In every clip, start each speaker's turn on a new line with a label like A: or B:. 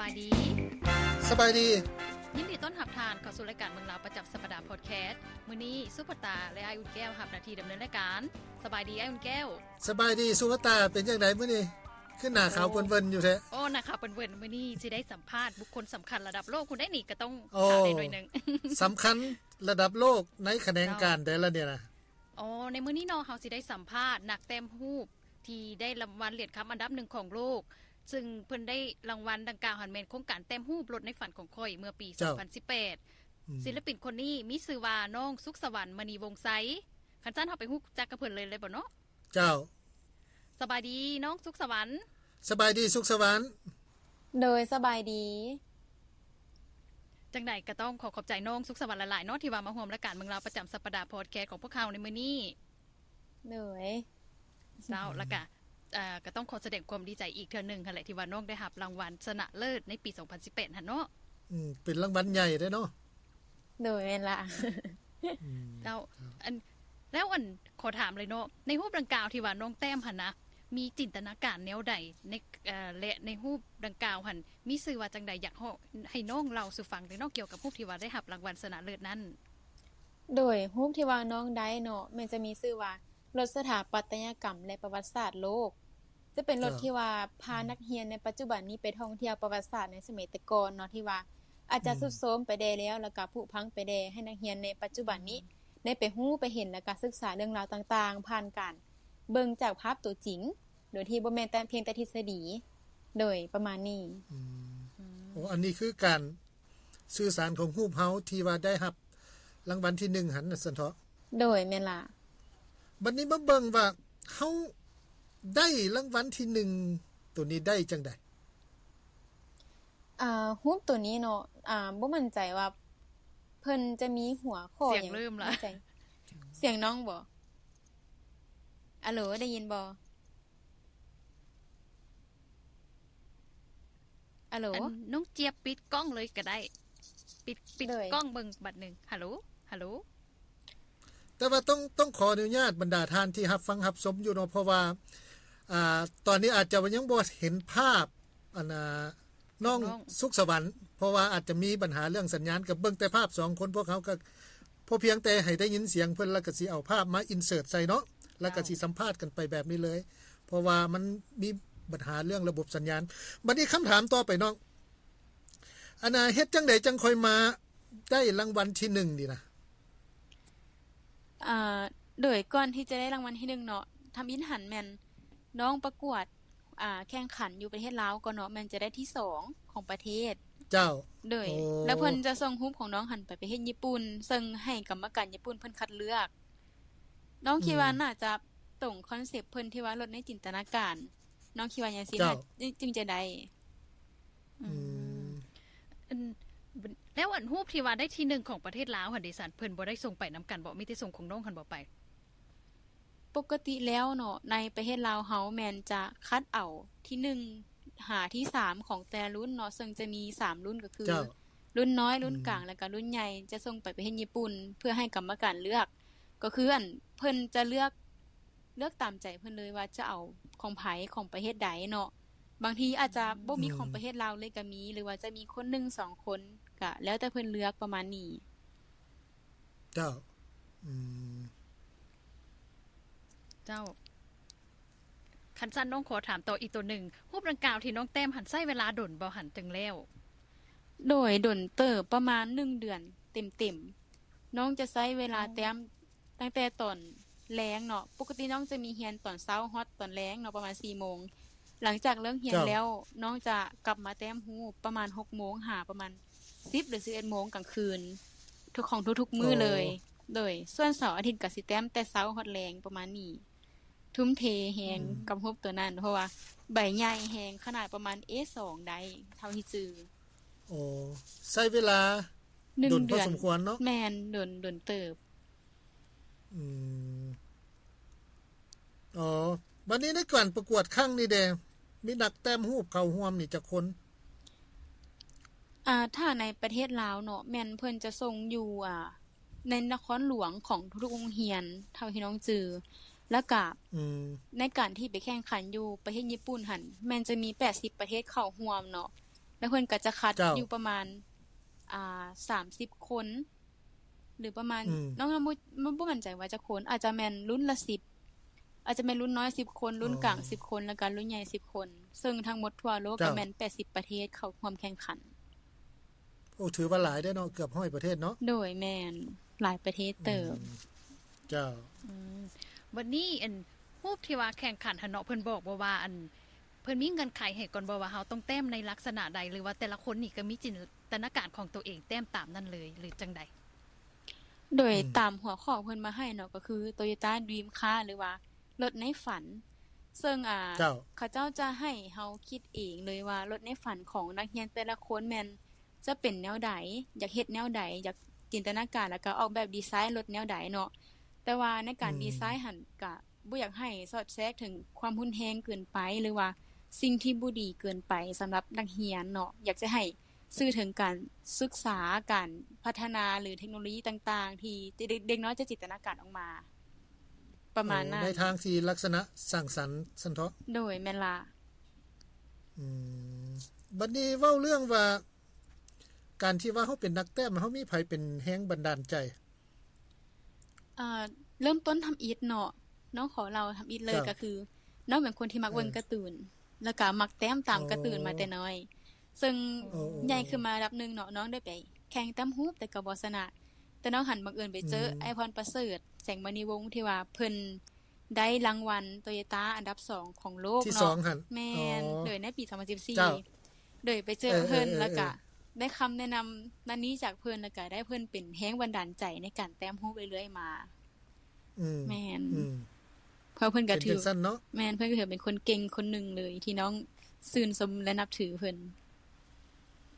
A: บายดี
B: สบายดี
A: ยินดีต้อนรับทานเข้าสู่รายการเมืองลาวประจำสัปดาห์พอดแคสต์มื้อนี้ซุปเปอร์ตาและไอายอุ่นแก้วรับหน้าที่ดำเนินรายการ สบายดีไอายอุ่นแก้ว
B: สบายดีสุวตาเป็นจังไดมื้อนี้ขึ้นหน้าขาวเปิ้นๆอยู่แท้
A: โอ้นะคะเปิ้นๆมื้อนี้สิได้สัมภาษณ์บุคคลสำคัญระดับโลกคุณได้นี่ก็ต้อง
B: โอ้
A: ถามได้หน่อยหนึง
B: สำคัญระดับโลกในแขนงการแต่ละเนี่ยนะ
A: อ๋อในมื้อนี้เนาะเฮาสิได้สัมภาษณ์นักแต้มรูป ที่ได้รางวัลเหรียญคำอันดับหนึ่งของโลก ซึ่งเพิ่นได้รางวัลดังกล่าวหันแม่นโครงการแต้มรูปลดในฝันของข่อยเมื่อปี
B: เจ้า
A: 2018 ศิลปินคนนี้มีชื่อว่าน้องสุขสวรรค์มณีวงศ์ไสคันซั่นเฮาไปฮู้จักกับเพิ่นเลยเลยบ่เนาะ
B: เจ้า
A: สบายดีน้องสุขสวรรค์
B: สบายดีสุขสวรรค์
C: โดยสบายดี
A: จังไดก็ต้องขอขอบใจน้องสุขสวรรค์หลายๆเนาะที่ว่ามาร่วมรายการเมืองลาวประจำสัปดาห์พอดแคสต์ของพวกเขาในมื้อนี้
C: โดย
A: เจ้าแล้วก็เอ่อก็ต้องขอแสดงความดีใจอีกเทื่อหนึงค่ะแหละที่ว่าน้องได้รับรางวัลชนะเลิศในปี 2018หั่นเนาะ
B: อืมเป็นรางวัลใหญ่เด้อเนาะ
C: โดยแม่นละ
B: อืม
A: เจ้าอันแล้วอันขอถามเลยเนาะในรูปดังกล่าวที่ว่าน้องแต้มหั่นนะมีจินตนาการแนวใดในเอ่อและในรูปดังกล่าวหั่นมีสื่อว่าจังใดอยากให้ให้น้องเราสู่ฟังได้เนาะเกี่ยวกับรูปที่ว่าได้รับรางวัลชนะเลิศนั้น
C: โดยรูปที่ว่าน้องได้เนาะมันจะมีชื่อว่ารถสถาปัตยกรรมและประวัติศาสตร์โลก จะเป็นรถที่ว่าพานักเรียนในปัจจุบันนี้ไปท่องเที่ยวประวัติศาสตร์ในสมัยแต่ก่อนเนาะที่ว่าอาจจะสุดโทรมไปแดแล้วแล้วก็ผุพังไปแดให้นักเรียนในปัจจุบันนี้ ได้ไปฮู้ไปเห็นแล้วก็ศึกษาเรื่องราวต่างๆ ผ่านการเบิ่งจากภาพตัวจริง โดยที่บ่แม่นแต่เพียงแต่ทฤษฎี โดยประมาณนี้
B: อืมโอ้อันนี้คือการสื่อสารของรูปเฮาที่ว่าได้รับรางวัลที่หนึ่งหันน่ะซั่นเถาะ
C: โดยแม่นล่ะ
B: บัดนนี้มาเบิ่งว่าเฮาได้รางวัลที่หนึ่งตัวนี้ได้จังได๋
C: อ่ารูปตัวนี้เนาะอ่าบ่มั่นใจว่า เพิ่นจะมีหัวข้อ
A: เสียง
C: ห
A: เริ่มละ
C: นใจเสียงน้องบ่อะโหลได้ยินบ่อะโหล
A: อันน้องเจี๊ยบปิดกล้องเลยก็ได้ ปิดปิด
C: เลย
A: กล้องเบิ่งบัดหนึ่งฮัลโหลฮัลโหล
B: แต่ว่าต้องต้องขออนุญาตบรรดาท่านที่รับฟังรับชมอยู่เนาะเพราะว่าอ่าตอนนี้อาจจะยังบ่เห็นภาพอันน่ะน้องสุขสวรรค์เพราะว่าอาจจะมีปัญหาเรื่องสัญญาณกับเบิ่งแต่ภาพสองคนพวกเขาก็พอเพียงแต่ให้ได้ยินเสียงเพิ่นแล้วก็สิเอาภาพมาอินเสิร์ตใส่เนาะแล้วก็สิสัมภาษณ์กันไปแบบนี้เลย เพราะว่ามันมีปัญหาเรื่องระบบสัญญาณบัดนี้คำถามต่อไปน้องอันน่ะเฮ็ดจังได๋จังค่อยมาได้รางวัลที่หนึ่งนี่นะ
C: อ่าโดยก่อนที่จะได้รางวัลที่หนึ่งเนาะทำอินหันแม่นน้องประกวด อ่า แข่งขันอยู่ประเทศลาวก็เนาะแม่นจะได้ที่สองของประเทศ
B: เจ้า
C: โดย
B: โอ้
C: แล้วเพิ่นจะส่งรูปของน้องหันไปประเทศญี่ปุ่น ซึ่งให้กรรมการญี่ปุ่นเพิ่นคัดเลือก น้องคิดว่าน่าจะตรงคอนเซปต์เพิ่นที่ว่าลดในจินตนาการ น้องคิดว่าอย่างสิน่า
B: เจ้า
C: จึงจะได้
A: อืมอันแล้วอันรูปที่ว่าได้ที่หนึ่งของประเทศลาวหั่นเดิสันเพิ่นบ่ได้ส่งไปนำกันบ่มีแต่ส่งของน้องหั่นบ่ไป
C: ปกติแล้วเนาะในประเทศลาวเฮาแมนจะคัดเอาที่หนึ่งหาที่สามของแต่ละรุ่นเนาะซึ่งจะมีสามรุ่นก็คือ
B: เจ้า
C: รุ่นน้อยรุ่น
B: อืม
C: กลางแล้วก็รุ่นใหญ่จะส่งไปประเทศญี่ปุ่น เพื่อให้กรรมการเลือก ก็คืออันเพิ่นจะเลือกเลือกตามใจเพิ่นเลยว่าจะเอาของไผของประเทศใดเนาะบางทีอาจจะบ่มีของประเทศลาวเลยก็มี หรือว่าจะมีคนหนึ่งสองคนก็แล้วแต่เพิ่นเลือกประมาณนี้
B: เจ้า อืม
A: เจ้า คันซั่นน้องขอถามต่ออีกตัวหนึ่งรูปดังกล่าวที่น้องแต้มหันใช้เวลาดนบ่หันถึงแล้ว
C: โดยดนเติบประมาณ 1 เดือนเต็มๆ น้องจะใช้เวลาแต้มตั้งแต่ตอนแรงเนาะ ปกติน้องจะมีเรียนตอนเช้าฮอตตอนแรงเนาะประมาณ4โมง หลังจากเลิกเรียน
B: เจ้า
C: แล้ว น้องจะกลับมาแต้มฮูปประมาณ6โมงหาประมาณ 10 หรือ 11โมงกลางคืน ทุกของทุกๆมื้อเลย โดยส่วนเสาร์อาทิตย์ก็สิแต้มแต่เช้าฮอตแรงประมาณนี้ ทุ่มเทแฮงกับฮบตัวนั้น เพราะว่าใบใหญ่แฮงขนาดประมาณ A2 ได้เท่าที่จือ
B: โอ้ใช้เวลา
C: หนึ่ง
B: ดนพ
C: เดื
B: อ
C: อน
B: สมควรเนาะ
C: แมนดนดนเติบ
B: อืม อ๋อ วันนี้ในการประกวดครั้งนี้แดมีนักแต้มรูปเข้าร่วมนี่จักคน
C: อ่าถ้าในประเทศลาวเนาะแม่นเพิ่นจะส่งอยู่อ่าในนครหลวงของทุกๆโรงเรียนเท่าที่น้องจือ แล้วก็
B: อืม
C: ในการที่ไปแข่งขันอยู่ประเทศญี่ปุ่นหั่นแม่นจะมี 80 ประเทศเข้าร่วมเนาะ แล้วเพิ่นก็จะคัด
B: เจ้า
C: อยู่ประมาณ อ่า30คน หรือประมาณ
B: อืม
C: น้องน้ำบ่บ่มั่นใจว่าจะคนอาจจะแม่นรุ่นละ10อาจจะแม่นรุ่นน้อย10คน รุ่นกลาง10คนแล้วก็รุ่นใหญ่10คน ซึ่งทั้งหมดทั่วโลกก็แม่น80ประเทศเข้าร่วมแข่งขัน
B: โอ้ถือว่าหลายได้อเนาะเกือบ100ประเทศเนาะ
C: โดยแม่นหลายประเทศเติบ
B: เจ้า
A: อืมวันนี้อันรูปที่ว่าแข่งขันหนเนาะเพิ่นบอกบ่ว่าอันเพิ่นมีเงินไขให้ก่อนบ่ว่าเฮาต้องแต้มในลักษณะใดหรือว่าแต่ละคนนี่ก็มีจินตนาการของตัวเองแต้มตามนั่นเลยหรือจังใด
C: โดย
B: อืม
C: ตามหัวข้อเพิ่นมาให้เนาะก็คือ Toyota Dream Car หรือว่ารถในฝัน ซึ่งอ่า
B: เจ้า
C: เขาเจ้าจะให้เฮาคิดเองเลยว่ารถในฝันของนักเรียนแต่ละคนแม่นจะเป็นแนวใดอยากเฮ็ดแนวใดอยากจินตนาการแล้วก็ออกแบบดีไซน์รถแนวใดเนาะแต่ว่าในการ
B: อืม
C: ดีไซน์หันก็บ่อยากให้สอดแทรกถึงความรุนแรงเกินไปหรือว่าสิ่งที่บ่ดีเกินไปสำหรับนักเรียนเนาะอยากจะให้ สื่อถึงการศึกษาการพัฒนาหรือเทคโนโลยีต่าง ๆ ที่เด็กเด็กน้อยจะจินตนาการออกมา ประมาณนั้น
B: ในทางที่ลักษณะสร้างสรรค์สันเทาะ
C: โดยแม่นล่ะ
B: อืมบัดนี้เว้าเรื่องว่า การที่ว่าเฮาเป็นนักแต้มเฮามีไผเป็นแฮงบันดาลใจ
C: เอ่อเริ่มต้นทำอีทเนาะน้องขอเราทำอีทเลย
B: ครับ
C: ก็คือ น้องเป็นคนที่มัก
B: เออ
C: เบิ่งการ์ตูนแล้วก็มักแต้มตาม
B: อ๋อ
C: การ์ตูนมาแต่น้อย ซึ่ง
B: โอ้โอ้
C: ใหญ่ขึ้นมาระดับหนึงเนาะน้องได้ไป แข่งแต้มฮูปแต่ก็บ่ชนะแต่น้องหันบังเอิญไปเจออ
B: ม
C: ไอพรประเสริฐแสงมณีวงศ์ที่ว่าเพิ่นได้รางวัล Toyota อันดับสองของโลก
B: ที่
C: เนาะ
B: 2หั่น
C: แม่
B: อ๋อ
C: นโดยในปี
B: เจ้า
C: 2014โดยไปเจอ
B: เออ
C: เพิ่น
B: เออเออ
C: แล้วก็ได้คำแนะนำนั้นนี้จากเพิ่นแล้วก็ได้เพิ่นเป็นแฮงบันดาลใจในการแต้มฮู้เรื่อยๆมา
B: อืม
C: แม่น
B: อืม
C: เพราะเพิ่น
B: เป็
C: ก็
B: น
C: ถื
B: จั
C: อง
B: ซั่นเนาะ
C: แม่นเพิ่นก็ถือเป็นคนเก่งคนหนึ่งเลย ที่น้องซื่นสมและนับถือเพิ่น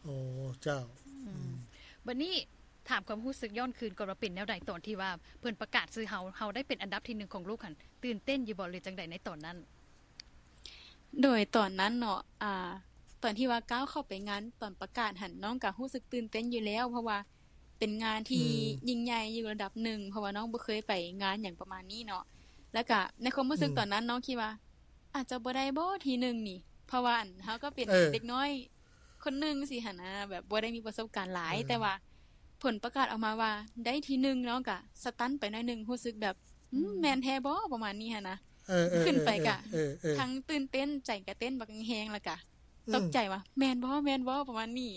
B: โอ้เจ้า
A: บัดนี้ถามความรู้สึกย้อนคืนก่อนว่าเป็นแนวใดตอนที่ว่าเพิ่นประกาศซื้อเฮาเฮาได้เป็นอันดับที่หนึ่งของโลกหั่นตื่นเต้นอยู่บ่หรือจังใดในตอนนั้น
C: โดยตอนนั้นเนาะอ่า ตอนที่ว่าก้าวเข้าไปงานตอนประกาศหันน้องก็รู้สึกตื่นเต้นอยู่แล้ว เพราะว่าเป็นงานที่
B: อืม
C: ยิ่งใหญ่อยู่ระดับหนึ่งเพราะว่าน้องบ่เคยไปงานอย่างประมาณนี้เนาะแล้วก็ในความรู้สึก
B: อืม
C: ตอนนั้นน้องคิดว่า อาจจะบ่ได้บ่ทีหนึงนี่ เพราะว่าอันเฮาก็เป็น
B: เออ
C: เด็กน้อย คนหนึงสิหั่นนะแบบบ่ได้มีประสบการณ์หลาย
B: เออ
C: แต่ว่า ผลประกาศออกมาว่าได้ทีหนึงน้องก็สตันไปหน่อยหนึงรู้สึกแบบอืมแม่นแท้บ่ประมาณนี้หั่นนะ
B: เออเออ
C: ขึ้นไปกะ
B: เออเออเออ
C: ทั้งตื่นเต้นใจก็เต้นบักแฮงแล้วก็
B: อืม
C: ตกใจว่าแม่นบ่แม่นบ่ประมาณนี้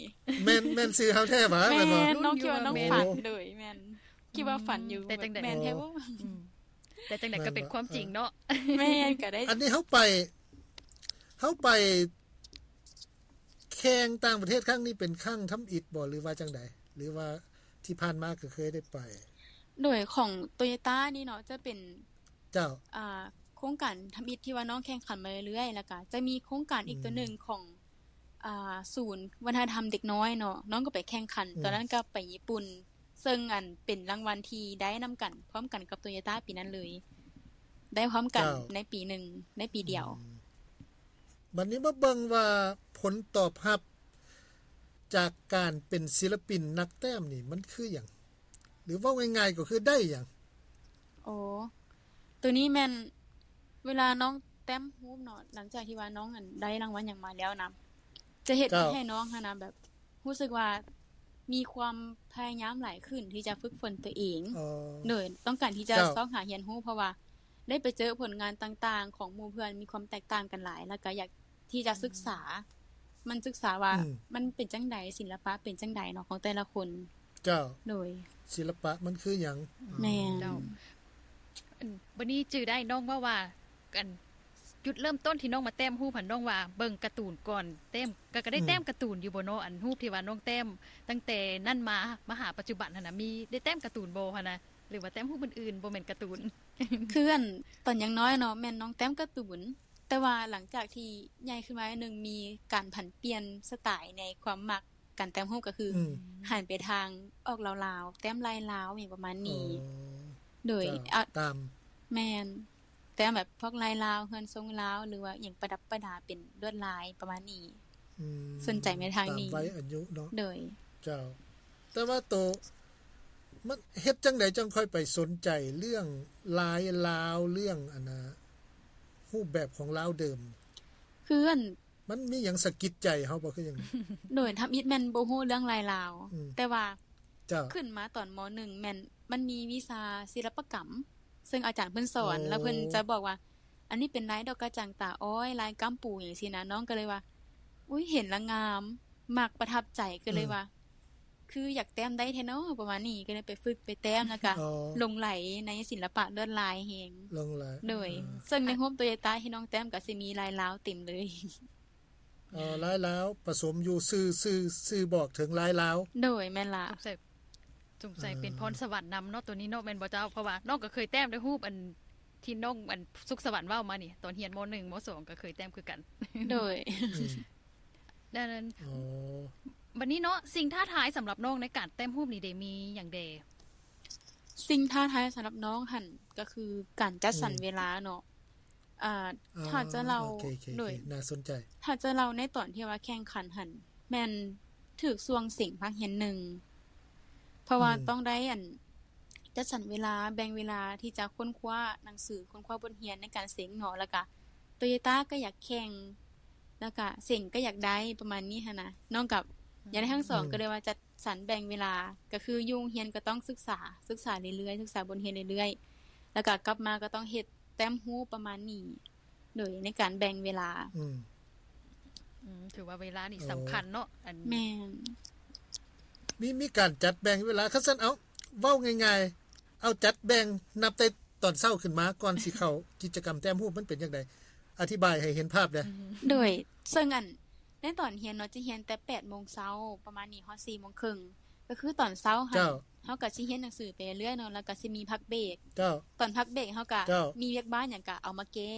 B: แม่นแม่นซื้อเฮาแท้บ่
C: แม่
B: แม่นบ่
C: นน้องคิดว่าน้องฝัน
B: โอ้
C: เลยแม่นคิดว่าฝันอยู่
A: แต่จังใด
C: แม่นแท้บ่
A: อืมแต่จังใดก็เป็น
B: แม่นบ่
A: ความจริงเนาะ
C: แม่นก็ได้
B: อันนี้เฮาไปเฮาไปแข่งต่างประเทศครั้งนี้เป็นครั้งทำอิฐบ่หรือว่าจังไดหรือว่าที่ผ่านมาก็เคยได้ไป
C: โดยของ Toyota นี่เนาะจะเป็น
B: เจ้า
C: อ่าโครงการทำอิฐที่ว่าน้องแข่งขันมาเรื่อยๆแล้วก็จะมีโครงการอีก
B: อืม
C: ตัวหนึ่งของอ่าศูนย์วัฒนธรรมเด็กน้อยเนาะน้องก็ไปแข่งขัน
B: อืม
C: ตอนนั้นก็ไปญี่ปุ่น ซึ่งอันเป็นรางวัลที่ได้นำกัน พร้อมกันกับ Toyota ปีนั้นเลย ได้พร้อมกันในปีหนึ่งในปีเดียว
B: บัดนี้มาเบิ่งว่าผลตอบรับจากการเป็นศิลปินนักแต้มนี่มันคือหยังหรือเว้าง่ายๆก็คือได้หยัง
C: โอ้ตัวนี้แม่นเวลาน้องแต้มฮูบเนาะหลังจากที่ว่าน้องอันได้รางวัลอย่างมาแล้วนะจะเฮ็ด
B: เจ้า
C: ให้น้องหันนะแบบรู้สึกว่ามีความพยายามหลายขึ้นที่จะฝึกฝนตัวเอง
B: เอ่อ
C: โดยต้องการที่จะ
B: เจ้า
C: ซอกหาเรียนรู้เพราะว่าได้ไปเจอผลงานต่าง ๆ ของหมู่เพื่อนมีความแตกต่างกันหลาย แล้วก็อยากที่จะศึกษา มันศึกษาว่ามันเป็นจังใดศิลปะเป็นจังใดเนาะของแต่ละคน
B: เจ้า
C: โดย
B: ศิลปะมันคือหยัง
C: แม่น
A: เจ้าอันบัดนี้จือได้น้องว่าว่าอันจุดเริ่มต้นที่น้องมาแต้มรูปหันน้องว่าเบิ่งการ์ตูนก่อนแต้มก็ก็ได้
B: อืม
A: แต้มการ์ตูนอยู่บ่เนาะอันรูปที่ว่าน้องแต้มตั้งแต่นั่นมามาหาปัจจุบันหั่นน่ะมีได้แต้มการ์ตูนบ่หั่นน่ะหรือว่าแต้มรูปอื่นๆบ่แม่นการ์ตูน
C: เพื่อนตอนยังน้อยเนาะแม่นน้องแต้มการ์ตูน แต่ว่าหลังจากที่ใหญ่ขึ้นมาหนึ่งมีการผันเปลี่ยนสไตล์ในความมักการแต้มฮู้ก็คืออ
B: อืม
C: หันไปทางออกลาวๆแต้มลายลาวอย่างประมาณนี้ โด
B: อ๋อย เจ้า
C: อ่ะ
B: ตาม
C: แม่นแต้มแบบพวกลายลาวเฮือนทรงลาวหรือว่าอย่างประดับประดาเป็นลวดลายประมาณนี้
B: อืม
C: สนใจไหมทางนี้
B: ตมไว้อายุเนาะ
C: โดย
B: เจ้า แต่ว่าโตมันเฮ็ดจังไดจังค่อยไปสนใจเรื่องลายลาวเรื่องอันนะรูปแบบของลาวเดิม
C: เพื่อน
B: มันมีหยังสะกิดใจเฮาบ่คือหยัง
C: โดยทำอิดแม่นบ่ฮู้เรื่องรายลาว
B: อืม
C: แต่ว่า
B: เจ้า
C: ขึ้นมาตอนม .1 แม่นมันมีวิชาศิลปกรรม ซึ่งอาจารย์เพิ่นสอน
B: โอ้
C: แล้วเพิ่นจะบอกว่า อันนี้เป็นลายดอกกระจังตาอ้อยลายกำปูอย่างซี่นะน้องก็เลยว่า อุ้ยเห็นและงามมักประทับใจก็เลยว่า คืออยากแต้มได้แท้เนาะประมาณนี้ก็เลยไปฝึกไปแต้มแล้วก็
B: อ๋อ
C: หลงไหลในศิลปะลวดลายแฮง
B: ลงหลาย
C: โดยซึ่งในโฮมโตโยต้าที่น้องแต้มก็สิมีลายลาวเต็มเลย
B: อ๋อหลายแล้วผสมอยู่ซื่อซื่อซื่อบอกถึงหลายแล้ว
C: โดยแม่นล่ะ
A: สงสัยสงสัยเป็นพรสวรรค์นำเนาะตัวนี้เนาะแม่นบ่เจ้าเพราะว่าน้องก็เคยแต้มด้วยรูปอันที่น้องอันสุขสวรรค์เว้ามานี่ตอนเรียนมหนึ่งมสองก็เคยแต้มคือกัน
C: โดย
B: อืม
A: ดังนั้น
B: อ๋อ
A: บัดนี้เนาะสิ่งท้าทายสำหรับน้องในการแต้มรูปนี่ได้มีอย่างใด
C: สิ่งท้าทายสำหรับน้องหั่นก็คือการจัดสรรเวลาเนาะอ่า
B: อ๋อ
C: ถ้าจะเรา
B: โอคโอคโอค
C: โดย
B: น่าสนใจ
C: ถ้าจะเราในตอนที่ว่าแข่งขันหั่นแม่นถูกสวงสิ่งพักเห็นหนึ่งเพราะว่า
B: อืม
C: ต้องได้อันจัดสรรเวลาแบ่งเวลาที่จะค้นคว้าหนังสือค้นคว้าบทเรียนในการเสียงเนาะแล้วก็โตโยต้าก็อยากแข่งแล้วก็เสียงก็อยากได้ประมาณนี้หั่นนะน้องกับ อย่างในทั้งสอง
B: อืม
C: ก็เลยว่าจัดสรรแบ่งเวลาก็คือยุ่งเรียนก็ต้องศึกษาศึกษาเรื่อยๆศึกษาบนเรียนเรื่อยๆแล้วก็กลับมาก็ต้องเฮ็ดแต้มฮู้ประมาณนี้โดยในการแบ่งเวลา
B: อืม
A: อืมถือว่าเวลานี่
B: โอ้
A: สำคัญเนาะอัน
C: แม่น
B: มีมีการจัดแบ่งเวลาคันซั่นเอาเว้าง่ายๆ เอาจัดแบ่งนับแต่ตอนเช้าขึ้นมาก่อนสิเข้ากิจกรรมแต้มรูปมันเป็นจังไดอธิบายให้เห็นภาพเด้อ
C: โดยซึ่งอันในตอนเรียนเนาะจะเรียนแต่8โมงเช้าประมาณนี้ฮอด4โมงครึ่งก็คือตอนเช้าหั่น
B: เจ้า
C: เฮาก็สิเรียนหนังสือไปเรื่อยๆเนาะแล้วก็สิมีพักเบรก
B: เจ้า
C: ตอนพักเบรกเฮาก็
B: เจ้า
C: มีเวียกบ้านหยังก็เอามาแก้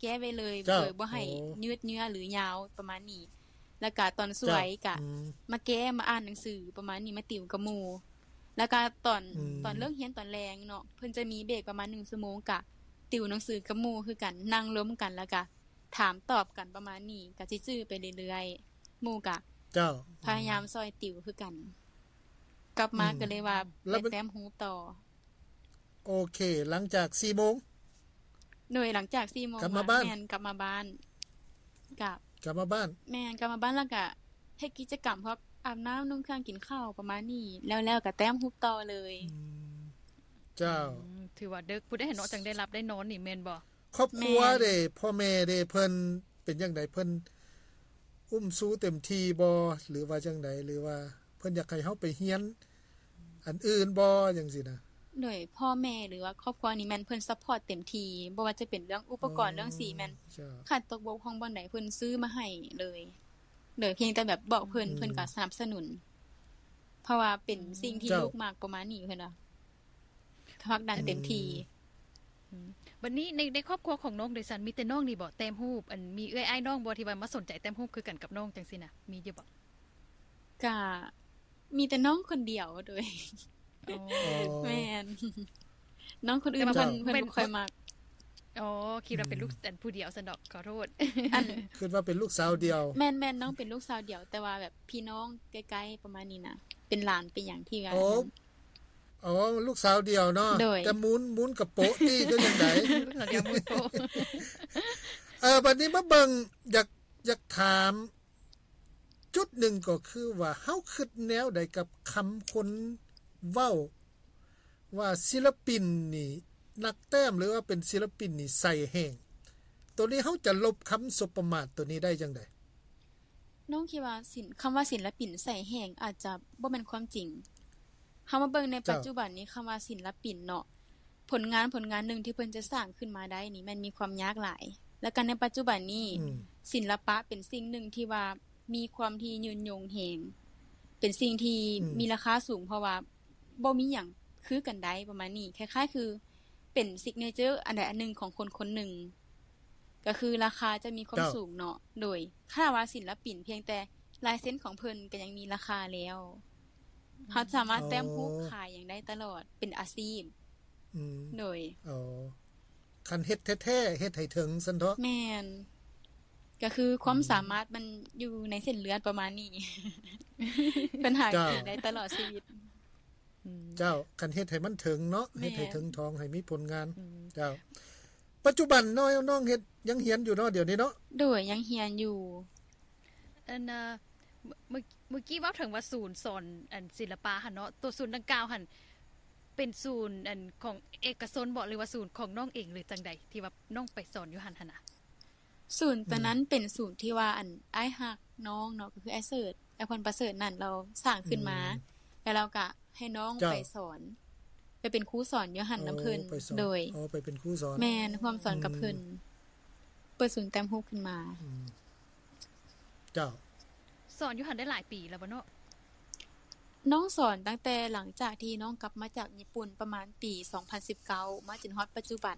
C: แก้ไว้เลย
B: เจ้า
C: โดยบ่ให้
B: โอ้
C: ยืดเยื้อหรือยาวประมาณนี้ แล้วก็ตอนสว
B: เจ้าย
C: ก็
B: อืม
C: มาแก้มาอ่านหนังสือประมาณนี้มาติวกับหมู่แล้วก็ตอน
B: อืม
C: ตอนเลิกเรียนตอนแรงเนาะเพิ่นจะมีเบรกประมาณ1ชั่วโมงก็ติวหนังสือกับหมู่คือกันนั่งล้มกันแล้วก็ถามตอบกันประมาณนี้ก็สิจื้อไปเรื่อยๆหมู่ก็
B: เจ้า
C: พยายามซอยติวคือกัน กลับมาก็เลยว่า
B: แล้ว
C: ไป
B: มัน
C: แต้มฮูบต่อ
B: โอเค หลังจาก4โมง
C: หน่วยหลังจาก4โมง
B: กลับมาบ้าน
C: แมนกลับมาบ้านกับ
B: กลับมาบ้าน
C: แมนกลับมาบ้านแล้วก็เฮ็ดกิจกรรมพวกอาบน้ำนุ่งเครื่องกินข้าวประมาณนี้ แล้วแล้วก็แต้มฮุบต่อเลย
B: เจ้า
A: อืมถือว่าดึกผู้ได้เห็นเนาะจังได้รับได้นอนนี่แม่นบ่
B: ครอบครัว
C: แม่
B: เด้พ่อแม่เด้เพิ่นเป็นจังไดเพิ่นอุ้มสู้เต็มที่บ่หรือว่าจังไดหรือว่า เพิ่นอยากให้เฮาไปเฮียน อันอื่นบ่จังซี่นะ
C: หน่วยพ่อแม่หรือว่าครอบครัวนี้แม่นเพิ่นซัพพอร์ตเต็มทีบ่ว่าจะเป็นเรื่องอุปกรณ์เรื่องสีแม่น
B: เจ้า
C: ขาดตกบกพร่องบ่อนใดเพิ่นซื้อมาให้เลยโดยเพียงแต่แบบบอกเพิ่น
B: อืม
C: เพิ่นก็สนับสนุน เพราะว่าเป็นสิ่งที่
B: เจ้า
C: ลูกมากประมาณนี้เพิ่นว่าพักดันเต็มที
A: วันนี้ในในครอบครัวของน้องเดซันมีแต่น้องนี่บ่แต้มรูปอันมีเอื้อยอ้ายน้องบ่ที่ว่ามาสนใจแต้มรูปคือกันกับน้องจังซี่น่ะมีอยู่บ่
C: ก็มีแต่น้องคนเดียวโดย
A: อ๋อ
B: อ๋อ
C: แม่น น้องคนอื่น
B: แต่
C: เพิ่
B: ว่า
C: นเพิ่น
A: เป็น
C: บ่ค่อยมัก
A: อ๋อคิดว่าเป็นลูกอันผู้เดียวซันดอกขอโทษ
C: อัน
B: คิดว่าเป็นลูกสาวเดียว
C: แม่นแม่นน้องเป็นลูกสาวเดี่ยว แต่ว่าแบบพี่น้องใกล้ๆประมาณนี้นะเป็นหลานเป็นหยังที่ว่า
B: โอ้ อ๋อ ลูกสาวเดียวเนาะ
C: โดย
B: จะหมุนหมุนกับโปะตี้ก็จังได
A: ลูกสาวเดียวมือโต
B: เออบัดนี้มาเบิงอยากอยากถาม จุดหนึ่งก็คือว่าเฮาคิดแนวใดกับคำคนเว้า ว่าศิลปินนี่ นักแต้มหรือว่าเป็นศิลปินนี่ใส่แห่ง ตัวนี้เฮาจะลบคำสบประมาทตัวนี้ได้จังได๋
C: น้องคิดว่าศิลป์คำว่าศิลปินใส่แห่งอาจจะบ่แม่นความจริงเฮามาเบิ่งในปัจจุบันนี้คำว่าศิลปินเนาะผลงานผลงานหนึ่งที่เพิ่นจะสร้างขึ้นมาได้นี่มันมีความยากหลาย แล้วกันในปัจจุบันนี้
B: อืม
C: ศิลปะเป็นสิ่งหนึ่งที่ว่ามีความที่ยืนยงแหงเป็นสิ่งที่
B: อืม
C: มีราคาสูงเพราะว่าบ่มีหยังคือกันได้ประมาณนี้คล้ายๆ คือเป็นซิกเนเจอร์อันใดอันหนึ่งของคนคนหนึ่ง ก็คือราคาจะมีความสูงเนาะโดยค่าว่าศิลปินเพียงแต่ลายเส้นของเพิ่นก็ยังมีราคาแล้วเฮาสามารถแต้มรูปขายอย่างได้ตลอดเป็นอาชีพ
B: อืม
C: โดย
B: เอาคันเฮ็ดแท้ๆเฮ็ดให้ถึงซั่นเถาะ
C: แม่นก็คือความสามารถมันอยู่ในเส้นเลือดประมาณนี้ ปัญหาเกิดได้ตลอดชีวิต
A: อืม
B: เจ้าคันเฮ็ดให้มันถึงเนาะ
C: แม่น
B: เฮ็ดให้ถึงทองให้มีผลงาน
A: อืม
B: เจ้า ปัจจุบันน้อยน้องเฮ็ดยังเรียนอยู่เนาะเดี๋ยวนี้เนาะ
C: โดยยังเรียนอยู่
A: อันน่ะเมื่อเมื่อกี้เว้าถึงว่าศูนย์สอนอันศิลปะหั่นเนาะตัวศูนย์ดังกล่าวหั่นเป็นศูนย์อันของเอกชนบ่หรือว่าศูนย์ของน้องเองหรือจังใดที่ว่าน้องไปสอนอยู่หั่นหั่นน่ะ
C: ศูนย์ตัวนั้นเป็นศูนย์ที่ว่าอันอ้ายฮักน้องเนาะก็คือไอ้เสิร์ชไอ้พรประเสริฐนั่นเราสร้างขึ้นมา แล้วเราก็ให้น้องไปสอน ไปเป็นครูสอนอยู่หั่นนำเพิ่น
B: โอ้ไปสอน
C: โดย
B: อ๋อไปเป็นครูสอน
C: แม่นความสอนกับเพิ่น
B: อืม
C: เปิดศูนย์แต้มฮูบขึ้นมา
B: เจ้า
A: สอนอยู่หั่นได้หลายปีแล้วบ่เนาะ
C: น้องสอนตั้งแต่หลังจากที่น้องกลับมาจากญี่ปุ่นประมาณปี 2019 มาจนฮอดปัจจุบัน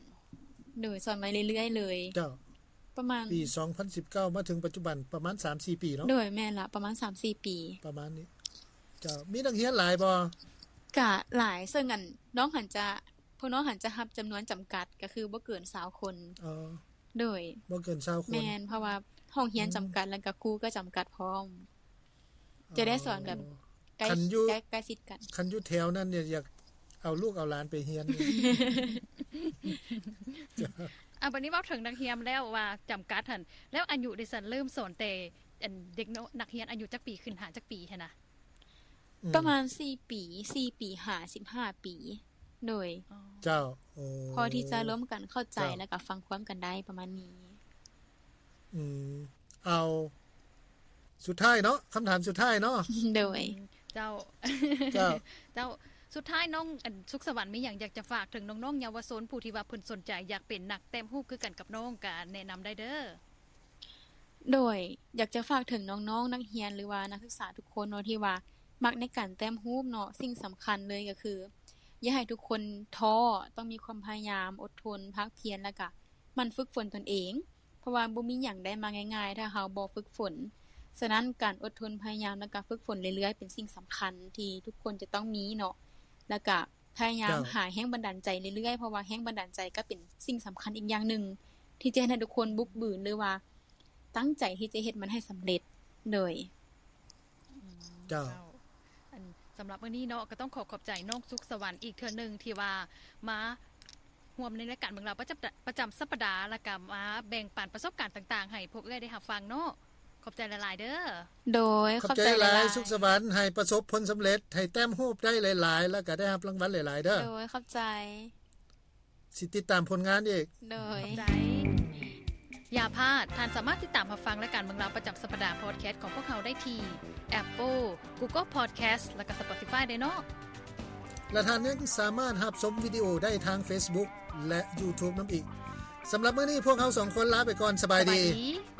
C: โดยสอนมาเรื่อยๆเลย
B: เจ้า
C: ประมาณ
B: ปี 2019 มาถึงปัจจุบันประมาณ 3-4 ปีเนาะ
C: โดยแม่นละประมาณ 3-4 ปี
B: ประมาณนี้ เจ้า มีนักเรียนหลายบ่
C: กะหลายซึ่งอันน้องหันจะพวกน้องหันจะรับจำนวนจำกัดก็คือบ่เกิน20คน
B: อ๋อ
C: โดย
B: บ่เกิน20คน
C: แม่นเพราะว่าห้องเรียนจำกัดแล้วก็ครูก็จำกัดพร้อม จะได้สอนแบบ ใกล้
B: คันอยู่
C: ใกล้ใกล้ชิดกัน
B: คันอยู่แถวนั้นเนี่ยอยากเอาลูกเอาหลานไปเรีย น
A: อ่ะบัดนี้เว้าถึงนักเรียนแล้วว่าจำกัดหั่นแล้วอายุดิฉันเริ่มสอนแต่อันเด็กน้อยนักเรียนอายุจักปีขึ้นหาจักปีหั่นน่ะ
B: อืม
C: ประมาณ 4 ปี 4 ปีหา15 ปี โดย
A: อ๋อ
B: เจ้า โอ้
C: พอที่จะร่วมกันเข้าใจแล้วก็ฟังความกันได้ประมาณนี้
B: อืม เอา สุดท้ายเนาะคำถามสุดท้ายเนาะ
C: โดย
A: เจ้า
B: เจ้า
A: เจ้าสุดท้ายน้องอันสุขสวรรค์มีหยังอยากจะฝากถึงน้องๆเยาวชนผู้ที่ว่าเพิ่นสนใจอยากเป็นนักแต้มฮูบคือกันกับน้องก็แนะนำได้เด้อ
C: โดยอยากจะฝากถึงน้องๆ นักเรียนหรือว่านักศึกษาทุกคนเนาะที่ว่ามักในการแต้มฮูบเนาะสิ่งสำคัญเลยก็คือ อย่าให้ทุกคนท้อต้องมีความพยายามอดทนภาคเพียรแล้วก็หมันฝึกฝนตนเอง เพราะว่าบ่มีหยังได้มาง่ายๆ ถ้าเฮาบ่ฝึกฝน ฉะนั้นการอดทนพยายามและการฝึกฝนเรื่อยๆ เป็นสิ่งสำคัญที่ทุกคนจะต้องมีเนาะแล้วก็พยายาม
B: จ้ะ
C: หาแรงบันดาลใจเรื่อยๆ เพราะว่าแรงบันดาลใจก็เป็นสิ่งสำคัญอีกอย่างหนึ่ง ที่จะให้ทุกคนบุกบืนหรือว่า ตั้งใจที่จะเฮ็ดมันให้สำเร็จโดย
B: เจ้า
A: อันสำหรับมื้อนี้เนาะก็ต้องขอขอบใจน้องสุขสวรรค์อีกเทื่อหนึงที่ว่ามาร่วมในรายการเมืองเราประจำประจำสัปดาห์และก็มาแบ่งปันประสบการณ์ต่างๆ ให้พวกเอ้ยได้รับฟังเนาะขอบใจหลายๆเด้อ
C: โดย
B: ขอบใจห
C: ห
B: ลาย
C: ย
B: สุขสวรรค์ให้ประสบผลสำเร็จ ให้แต้มฮูบได้หลาย ๆ แล้วก็ได้รับรางวัลหลาย ๆ เด้อ
C: โดยขอบใจ
B: สิติดตามผลงานอีก
C: โด
A: ข
C: ย
A: อบใจอย่าพลาดท่านสามารถติดตามรับฟังรายการเมืองเราประจำสัปดาห์พอดแคสต์ของพวกเราได้ที่ Apple Google Podcast และก็ Spotify ได้เนาะ
B: และท่านยังสามารถหับชมวิดีโอได้ทาง Facebook และ YouTube น้ำอีก สำหรับมื้อนี้พวกเขาสองคนลาไปก่อนสบายดี
A: 拜拜。